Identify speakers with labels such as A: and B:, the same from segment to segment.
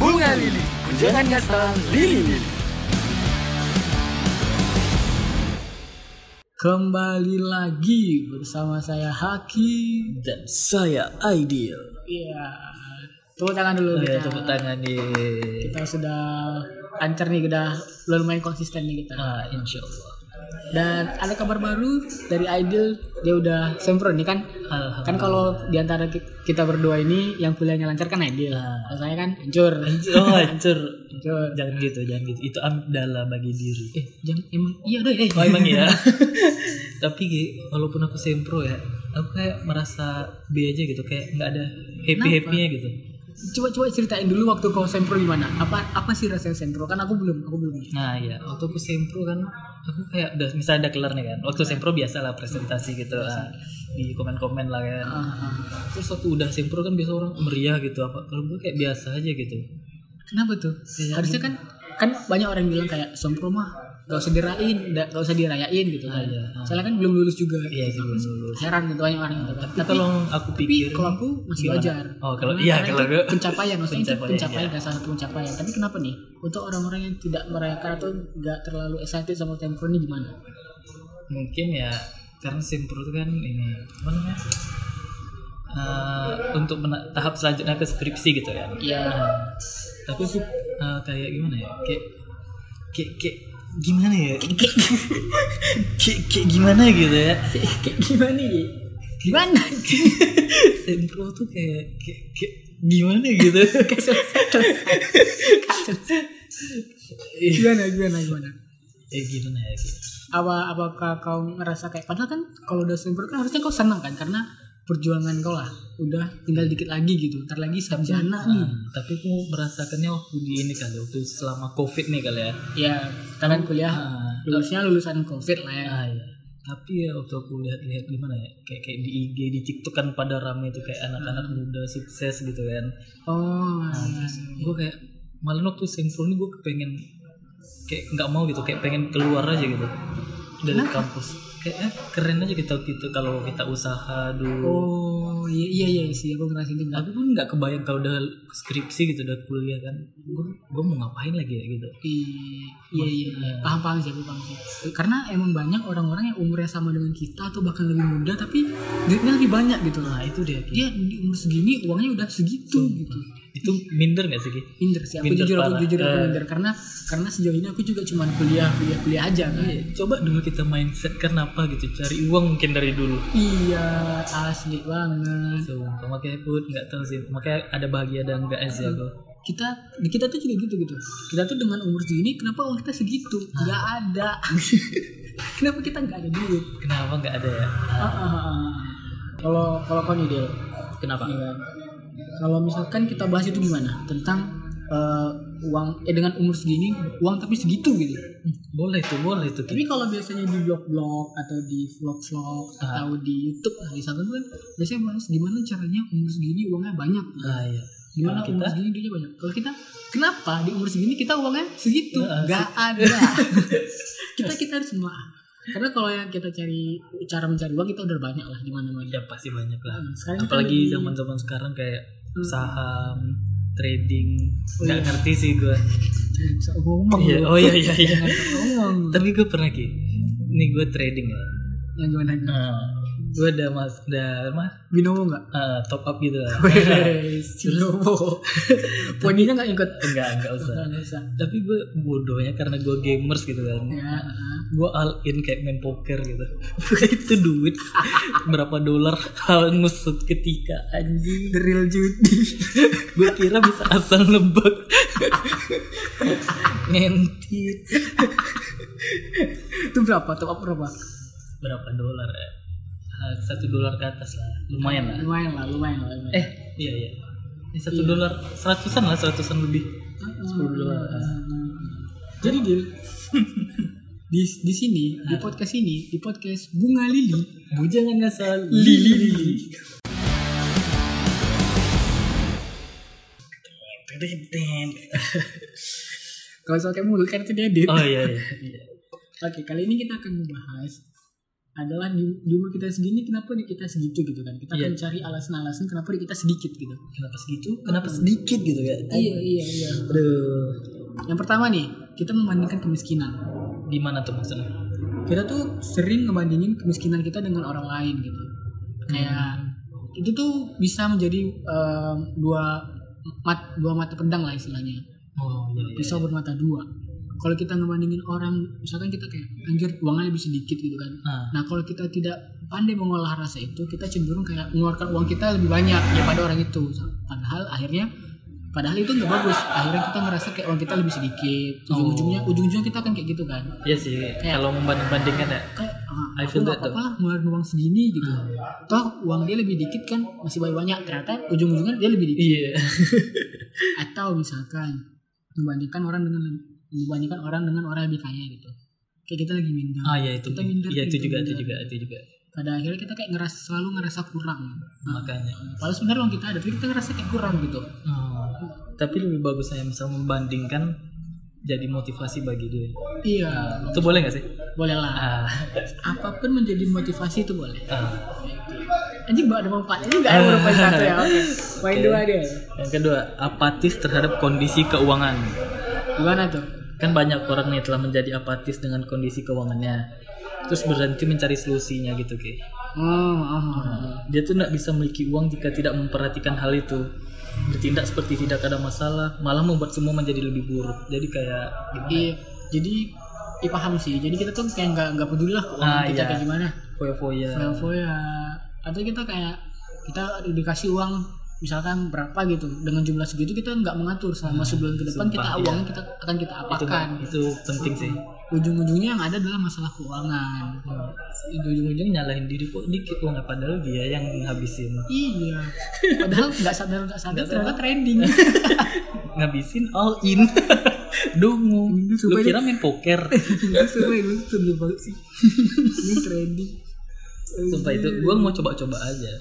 A: Bunga Lili. Jangan ngasal Lili.
B: Kembali lagi bersama saya Haki
A: Dan saya Ideal.
B: Iya Tepuk tangan dulu
A: Ya,
B: kita.
A: tepuk tangan ye.
B: Kita sudah lancar nih Udah lumayan konsisten nih kita
A: Ah, insya Allah.
B: Dan ada kabar baru dari Ideal Dia udah sempro nih kan
A: Alhamdulillah.
B: Kan kalau diantara kita berdua ini Yang kuliahnya lancar kan Ideal
A: Ah.
B: Kalau saya kan hancur
A: Oh, hancur.
B: Hancur
A: Jangan gitu, jangan gitu. Itu amdala bagi diri.
B: Eh jangan emang iya doi eh.
A: Oh emang iya. Tapi Gi, walaupun aku sempro ya, aku kayak merasa B aja gitu, kayak nggak ada happy happynya gitu.
B: Coba coba ceritain dulu waktu kau sempro gimana? Apa apa sih rasanya sempro? Kan aku belum, aku belum.
A: Nah ya, waktu aku sempro kan, aku kayak udah misalnya ada kelar nih kan. Waktu sempro biasa lah presentasi gitu, lah, di komen-komen lah kan.
B: Ah, ah.
A: Terus waktu udah sempro kan biasa orang meriah gitu apa. Kalau gue kayak biasa aja gitu.
B: Kenapa tuh?
A: Iya,
B: Harusnya kan kan banyak orang bilang kayak sempro mah gak usah dirayain, da- gak usah dirayain gitu kan.
A: iya,
B: Soalnya kan belum lulus juga.
A: Iya gitu lulus.
B: Heran gitu banyak orang gitu kan.
A: Tapi kalau aku
B: tapi
A: pikir,
B: kalau aku masih
A: Gimana?
B: wajar.
A: Oh, kalau-
B: Karena-
A: iya,
B: karena
A: kalau
B: itu
A: gue-
B: pencapaian maksudnya itu
A: Pencapaian, iya.
B: pencapaian gak salah satu pencapaian. Tapi kenapa nih? Untuk orang-orang yang tidak merayakan atau gak terlalu excited sama sempro ini gimana?
A: mungkin ya karena simpro itu kan ini apa namanya? Eh, untuk mena- tahap selanjutnya ke skripsi gitu ya.
B: Iya.
A: tapi aku uh, kayak gimana ya kayak kayak kayak gimana ya kayak kayak, kayak gimana gitu ya
B: Kayak gimana nih? Gimana?
A: sempro tuh kayak kayak, kayak gimana gitu Iya.
B: gimana gimana gimana?
A: ya gimana ya kayak,
B: apa apakah kau ngerasa kayak padahal kan kalau udah sempurna kan harusnya kau senang kan karena perjuangan kau lah udah tinggal dikit lagi gitu ntar lagi sarjana nih
A: ah, tapi aku merasakannya waktu di ini kali waktu selama covid nih kali ya
B: ya kita kan kuliah
A: Ah,
B: lulusnya lulusan covid lah ya
A: ah, ya. tapi ya waktu aku lihat-lihat gimana ya kayak kayak di IG di TikTok kan pada rame tuh kayak anak-anak muda sukses gitu kan
B: oh
A: gue kayak malah waktu sempro ini gue pengen kayak nggak mau gitu kayak pengen keluar aja gitu dari kampus kayak eh, keren aja kita gitu kalau kita usaha dulu
B: oh iya iya iya sih aku ngerasain juga
A: aku pun nggak kebayang kalau udah skripsi gitu udah kuliah kan gue gue mau ngapain lagi ya gitu
B: I- iya iya iya.
A: Ah.
B: paham paham sih aku paham sih karena emang banyak orang-orang yang umurnya sama dengan kita atau bahkan lebih muda tapi duitnya lebih banyak gitu
A: nah itu dia Ki.
B: dia di umur segini uangnya udah segitu gitu
A: itu minder nggak sih Ki?
B: minder sih aku
A: Minder
B: jujur aku
A: parah.
B: jujur aku
A: Eh.
B: minder karena karena sejauh ini aku juga cuman kuliah kuliah kuliah aja kan
A: coba dulu kita mindset kenapa gitu cari uang mungkin dari dulu
B: iya asli banget
A: so, makanya aku nggak tahu sih makanya ada bahagia dan enggak sih aku
B: kita di kita tuh juga gitu gitu kita tuh dengan umur segini kenapa uang kita segitu nggak ada kenapa kita nggak ada duit
A: kenapa nggak ada ya
B: Ah, ah, ah. kalau kalau kau nih Del
A: kenapa
B: Iya. kalau misalkan kita bahas itu gimana tentang eh, uang eh dengan umur segini uang tapi segitu gitu
A: boleh tuh boleh tuh
B: Tapi kalau biasanya di blog-blog atau di vlog-vlog
A: Ah.
B: atau di YouTube lah di sana kan biasanya bahas gimana caranya umur segini uangnya banyak.
A: ah, ya. Kalau
B: Gimana umur
A: kita-
B: segini duitnya banyak. Kalau kita kenapa di umur segini kita uangnya segitu?
A: Nah,
B: Gak ada. kita kita harus melah. Karena kalau yang kita cari cara mencari uang kita udah banyak lah di mana-mana. Ah,
A: ya pasti banyak lah
B: Sekarang kan kita
A: apalagi
B: di-
A: zaman zaman sekarang kayak
B: Hmm.
A: saham trading
B: Oh,
A: nggak
B: iya.
A: ngerti sih gue
B: Eh, Bisa ngomong.
A: Iya,
B: lu.
A: oh iya iya iya
B: Jangan ngomong.
A: tapi gue pernah ki ini gue trading ya
B: Yang gimana? gimana?
A: gue udah mas udah mah
B: Binomo nggak?
A: eh, top up gitu lah
B: Oh, iya. Wes, Binomo. Poninya nggak ikut.
A: enggak enggak usah
B: Nggak usah.
A: tapi gue bodohnya karena gue gamers gitu kan
B: Ya.
A: gue all in kayak main poker gitu itu duit berapa dolar hangus ketika anjing
B: The real judi
A: gue kira bisa asal nebak ngentit
B: itu berapa top up berapa
A: berapa dolar ya Ah, satu dolar ke atas lah lumayan lah
B: lumayan lah lumayan lah lumayan.
A: eh iya iya Eh, satu dolar seratusan lah seratusan lebih
B: sepuluh dolar jadi deal di di sini di podcast ini di podcast bunga lili
A: bujangan ngasal
B: lili lili kalau pakai mulut kan itu dia edit
A: oh iya iya
B: kan
A: Oh,
B: oke kali ini kita akan membahas adalah di, di umur kita segini kenapa di kita segitu gitu kan kita
A: Iya.
B: akan cari alasan-alasan kenapa di kita sedikit gitu
A: kenapa segitu kenapa sedikit gitu ya
B: iya iya iya
A: aduh
B: yang pertama nih kita membandingkan kemiskinan
A: gimana tuh maksudnya
B: kita tuh sering ngebandingin kemiskinan kita dengan orang lain gitu kayak itu tuh bisa menjadi em, dua mat dua mata pedang lah istilahnya
A: oh iya, iya.
B: pisau bermata dua kalau kita ngebandingin orang misalkan kita kayak anjir uangnya lebih sedikit gitu kan
A: nah
B: nah kalau kita tidak pandai mengolah rasa itu kita cenderung kayak mengeluarkan uang kita lebih banyak daripada orang itu padahal akhirnya padahal itu nggak bagus akhirnya kita ngerasa kayak uang kita lebih sedikit ujung-ujungnya ujung-ujungnya kita akan kayak gitu kan
A: iya sih kalau membanding-bandingkan ya
B: kayak ah,
A: I feel
B: aku nggak
A: that
B: apa-apa lah ngeluarin uang segini gitu toh uang dia lebih dikit kan masih banyak banyak ternyata ujung-ujungnya dia lebih dikit
A: iya
B: atau misalkan membandingkan orang dengan membandingkan orang dengan orang lebih kaya gitu kayak kita lagi minder
A: ah ya itu
B: Kita minder,
A: iya itu
B: kita
A: juga itu
B: minder.
A: juga itu juga
B: pada akhirnya kita kayak ngerasa selalu ngerasa kurang
A: makanya
B: padahal sebenarnya uang kita ada tapi kita ngerasa kayak kurang gitu
A: Oh, tapi lebih bagus saya misal membandingkan jadi motivasi bagi dia
B: iya
A: itu boleh nggak sih
B: boleh lah
A: ah
B: apapun menjadi motivasi itu boleh
A: ah.
B: anjing mbak ada manfaatnya juga ya baru poin satu ya oke poin
A: Oke.
B: dua dia
A: yang kedua apatis terhadap kondisi keuangan
B: gimana tuh
A: kan banyak orang nih telah menjadi apatis dengan kondisi keuangannya terus berhenti mencari solusinya gitu ki
B: oh, oh, oh.
A: dia tuh nggak bisa memiliki uang jika tidak memperhatikan hal itu bertindak seperti tidak ada masalah malah membuat semua menjadi lebih buruk jadi kayak gimana ya?
B: Iya, jadi ya paham sih. Jadi kita tuh kayak nggak nggak peduli lah keuangan
A: Ah,
B: kita
A: iya.
B: kayak gimana.
A: foya-foya
B: Foya-foya atau kita kayak kita dikasih uang misalkan berapa gitu dengan jumlah segitu kita nggak mengatur selama sebulan ke depan kita
A: sumpah,
B: uang kita akan kita
A: itu,
B: apakan
A: itu penting sih
B: ujung-ujungnya yang ada adalah masalah keuangan
A: ujung-ujung Hmm. nyalahin diri kok dikit kok nggak padahal dia yang ngabisin
B: iya padahal nggak sadar nggak sadar ternyata trending
A: ngabisin all in dungu
B: Ini
A: lu
B: supaya-
A: kira main poker
B: itu semua itu sebelum banget sih ini trending
A: sumpah itu gua mau coba-coba aja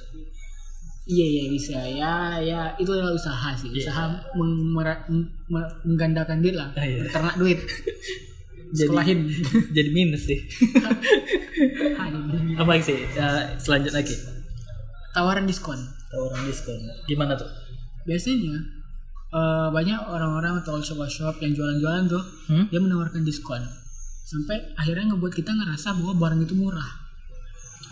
B: Iya iya bisa ya ya itu adalah usaha sih
A: Iya.
B: usaha meng- mera- meng- mer- menggandakan duit lah
A: Ah, iya.
B: ternak duit
A: Jadi-
B: sekolahin
A: jadi minus sih
B: Ah, ini.
A: apa sih Eh, selanjut lagi
B: tawaran diskon
A: tawaran diskon gimana tuh
B: biasanya eh, banyak orang-orang atau shop-shop yang jualan-jualan tuh
A: Hmm?
B: dia menawarkan diskon sampai akhirnya ngebuat kita ngerasa bahwa barang itu murah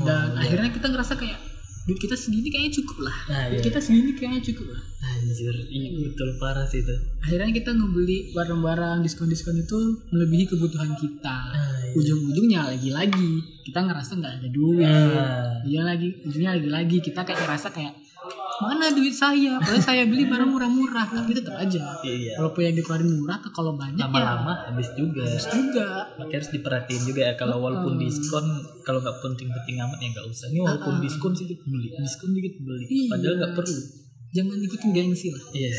A: Oh,
B: dan
A: iya.
B: akhirnya kita ngerasa kayak duit kita segini kayaknya cukup lah
A: Ah,
B: duit
A: iya.
B: kita segini kayaknya cukup lah
A: anjir iya betul parah sih itu
B: akhirnya kita ngebeli barang-barang diskon-diskon itu melebihi kebutuhan kita
A: Ah, iya.
B: ujung-ujungnya lagi-lagi kita ngerasa nggak ada duit
A: Ah.
B: Ujungnya lagi ujungnya lagi-lagi kita kayak ngerasa kayak mana duit saya padahal saya beli barang murah-murah tapi tetap aja
A: iya
B: walaupun yang dikeluarin murah atau kalau banyak ya
A: lama-lama habis juga
B: harus juga
A: makanya harus diperhatiin juga ya kalau
B: Ah.
A: walaupun diskon kalau nggak penting-penting amat ya nggak usah ini walaupun diskon sedikit beli diskon sedikit beli
B: Ah. Iya.
A: padahal nggak perlu
B: jangan ikutin gengsi lah
A: iya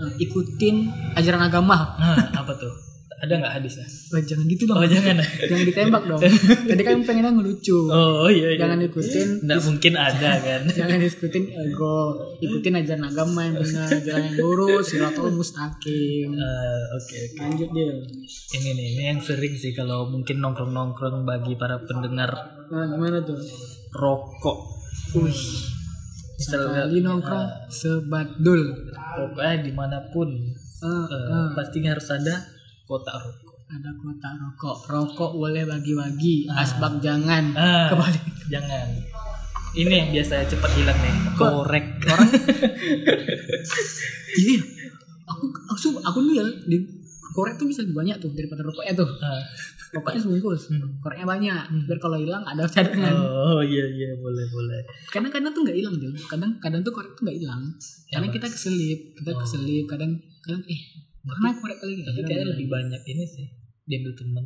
B: Nah, ikutin ajaran agama
A: nah apa tuh ada nggak hadisnya
B: Wah, jangan gitu
A: oh
B: dong
A: jangan
B: jangan ditembak dong tadi kan pengennya ngelucu
A: oh iya, iya.
B: jangan ikutin
A: nggak mungkin ada kan
B: jangan ikutin ego ikutin ajaran agama yang benar jalan yang lurus siratul mustaqim
A: Eh, oke oke
B: lanjut dia
A: ini nih ini yang sering sih kalau mungkin nongkrong nongkrong bagi para pendengar
B: nah gimana tuh
A: rokok
B: wih
A: misalnya
B: sekali nongkrong sebadul
A: pokoknya dimanapun
B: Eh,
A: eh, pasti harus ada kotak rokok
B: ada kota rokok rokok boleh bagi-bagi asbak jangan
A: Ah,
B: kebalik
A: jangan ini yang biasa cepat hilang nih korek
B: iya aku aku su- aku nih ya di korek tuh bisa lebih banyak tuh daripada rokoknya tuh
A: Ah,
B: rokoknya sebungkus koreknya banyak biar kalau hilang ada cadangan
A: oh iya iya boleh boleh
B: karena kadang tuh nggak hilang Del. kadang kadang tuh korek tuh nggak hilang karena kita keselip kita keselip kadang kadang eh pernah korek kali ya
A: Oh. tapi kayaknya lebih banyak ini sih diambil teman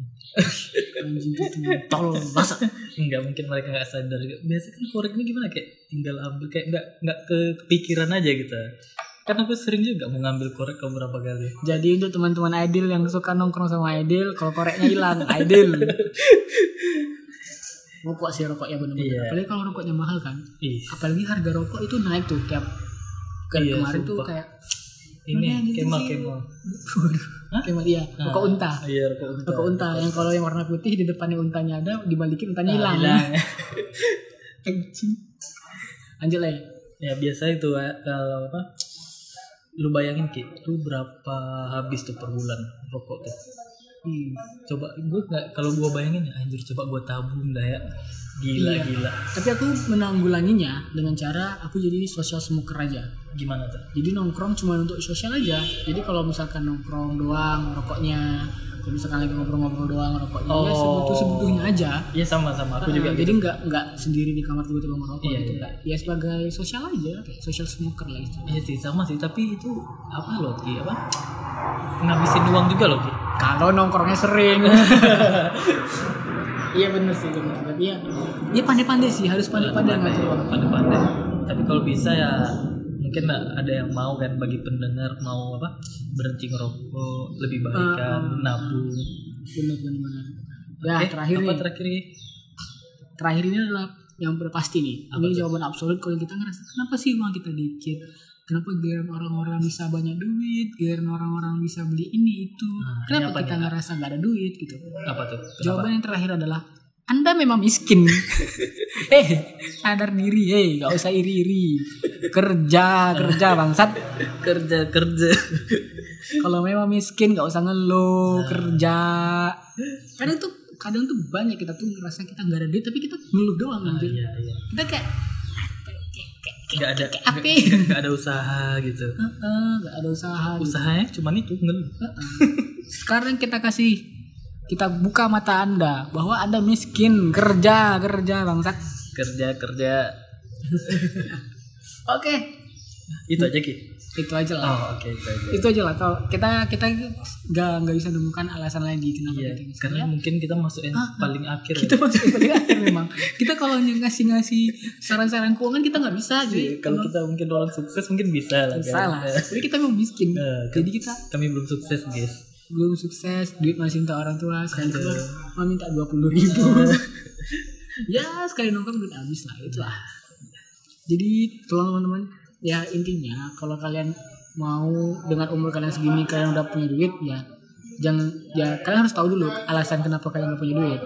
B: anjing gitu tol masa
A: nggak mungkin mereka nggak sadar biasa kan korek ini gimana kayak tinggal ambil kayak nggak nggak ke kepikiran aja gitu kan aku sering juga mau ngambil korek beberapa kali
B: jadi untuk teman-teman Aidil yang suka nongkrong sama Aidil kalau koreknya hilang Aidil rokok sih rokoknya bener-bener
A: Iya.
B: apalagi kalau rokoknya mahal kan
A: ih
B: apalagi harga rokok itu naik tuh tiap kayak
A: Iya,
B: Kan kemarin tuh
A: sumpah.
B: kayak
A: ini
C: Mana
A: kemal
C: gitu sih?
A: kemal
B: Waduh.
A: Hah?
B: Kayak iya,
A: Nah,
B: rokok unta.
A: iya rokok unta
B: Rokok unta yang kalau yang warna putih di depannya untanya ada,
A: Ah,
B: dibalikin untanya hilang.
A: hilang.
B: Anjing. Lanjut lah ya.
A: ya biasa itu eh, kalau apa lu bayangin ki lu berapa habis tuh per bulan rokok tuh
B: Hmm.
A: coba gue nggak kalau gue bayangin ya anjir coba gue tabung dah ya gila
B: Iya.
A: gila
B: Tapi aku menanggulanginya dengan cara aku jadi sosial smoker aja.
A: gimana tuh
B: Jadi nongkrong cuma untuk sosial aja. Jadi kalau misalkan nongkrong doang rokoknya, kalau misalkan lagi ngobrol-ngobrol doang rokoknya, ya
A: Oh.
B: sebutuh-sebutuhnya aja.
A: Iya sama sama aku juga
B: Ah, jadi nggak nggak sendiri di kamar tiba-tiba ngerokok
A: Iya,
B: gitu
A: iya.
B: nggak. Ya sebagai sosial aja, kayak social smoker lah itu.
A: Iya sih sama sih tapi itu apa loh ki apa ngabisin uang juga loh ki
B: Kalau nongkrongnya sering. Iya bener sih bener. Tapi ya, ya pandai-pandai sih harus pandai-pandai
A: Pandai-pandai,
B: ngatur waktu.
A: pandai-pandai tapi kalau bisa ya mungkin ada yang mau kan bagi pendengar mau apa berhenti ngerokok lebih baik kan
B: Ah.
A: nabung
B: Bener bener bener. Ya
A: Oke,
B: terakhir
A: apa
B: nih.
A: terakhir nih
B: terakhir ini adalah yang udah pasti nih.
A: Apa
B: ini
A: tuh?
B: jawaban absolut kalau kita ngerasa kenapa sih uang kita dikit? Kenapa giliran orang-orang bisa banyak duit? Giliran orang-orang bisa beli ini itu.
A: Nah, ini apa
B: kenapa kita
A: nih?
B: ngerasa nggak ada duit gitu?
A: apa tuh
B: Jawaban yang terakhir adalah anda memang miskin. eh, sadar diri, eh, gak usah iri-iri. Kerja, kerja bangsat.
A: kerja kerja
B: Kalau memang miskin, gak usah ngeluh,
A: Nah.
B: kerja. Kadang tuh, kadang tuh banyak kita tuh ngerasa kita nggak ada duit, tapi kita ngeluh doang. anjir.
A: iya iya
B: Kita kayak
A: nggak ada
B: kayak apa?
A: nggak- nggak ada usaha gitu
B: Heeh, nggak ada usaha. gitu.
A: usahanya cuman itu ngeluh
B: Heeh. Sekarang kita kasih kita buka mata Anda bahwa Anda miskin, kerja, kerja bangsat.
A: kerja kerja
B: Oke,
A: itu aja ki
B: itu aja
A: oh
B: lah.
A: oke itu aja
B: Itu aja lah. Kalau kita kita nggak nggak bisa menemukan alasan lagi kenapa
A: Iya,
B: kita miskin.
A: karena
B: Ya,
A: mungkin kita masuk yang paling akhir. ya.
B: kita masuk ke paling akhir memang. Kita kalau ngasih ngasih saran-saran keuangan kita nggak
A: ya.
B: bisa jadi
A: kalau kita mungkin orang sukses mungkin bisa lah. kan.
B: salah.
A: Eh,
B: Jadi kita memang miskin.
A: Eh,
B: Jadi kita
A: Kami belum sukses, guys.
B: belum sukses duit masih minta orang tua sekali keluar mau minta dua puluh ribu ya sekali nongkrong duit habis lah itu lah jadi tolong teman-teman ya intinya kalau kalian mau dengan umur kalian segini kalian udah punya duit ya jangan ya kalian harus tahu dulu alasan kenapa kalian gak punya duit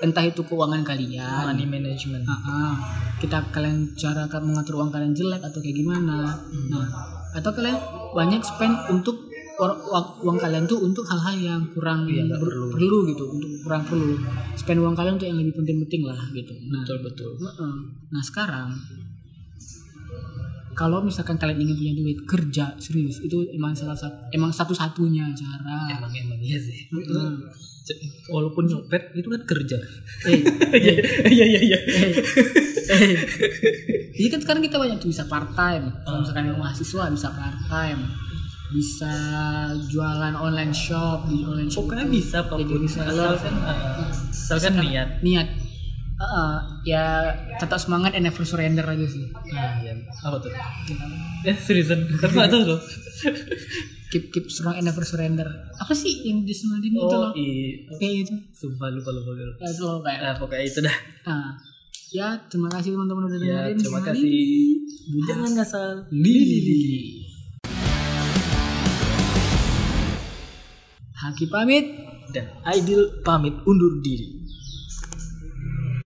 B: entah itu keuangan kalian
A: Money management.
B: Ah, ah. kita kalian cara ka- mengatur uang kalian jelek atau kayak gimana nah atau kalian banyak spend untuk or- uang, uang kalian tuh untuk hal-hal yang kurang
A: Iya, nggak
B: ber-
A: perlu.
B: gitu untuk kurang perlu spend uang kalian untuk yang lebih penting-penting lah gitu
A: Ah,
B: nah
A: Betul betul.
B: heeh. nah sekarang kalau misalkan kalian ingin punya duit kerja serius itu emang salah satu emang satu-satunya cara
A: Emang emang iya sih.
B: Heeh.
A: C- Walaupun nyopet itu kan kerja.
B: Eh,
A: Iya iya iya. iya.
B: Jadi kan sekarang kita banyak tuh bisa part time. Kalau
A: Ah.
B: misalkan yang mahasiswa bisa part time, bisa jualan online shop di online shop.
A: Pokoknya
B: itu
A: bisa apapun
B: jadi reseller.
A: asalkan eh, asalkan niat.
B: niat. Heeh, ya tetap semangat and never surrender aja sih.
A: Nah, iya. Oh, Apa tuh? Eh seriusan, aku nggak tahu loh.
B: Keep keep strong and never surrender. Apa sih yang di Senadin itu
A: Oh
B: loh?
A: iya.
B: Kayak itu.
A: Sumpah lupa lupa lupa.
B: Ya, itu loh kayak.
A: Nah, pokoknya itu dah.
B: Ah. Ya, terima kasih teman-teman udah
A: Ya,
B: dengerin.
A: terima kasih. Jangan ngasal.
B: Lili. Haki pamit.
A: Dan Aidil pamit undur diri.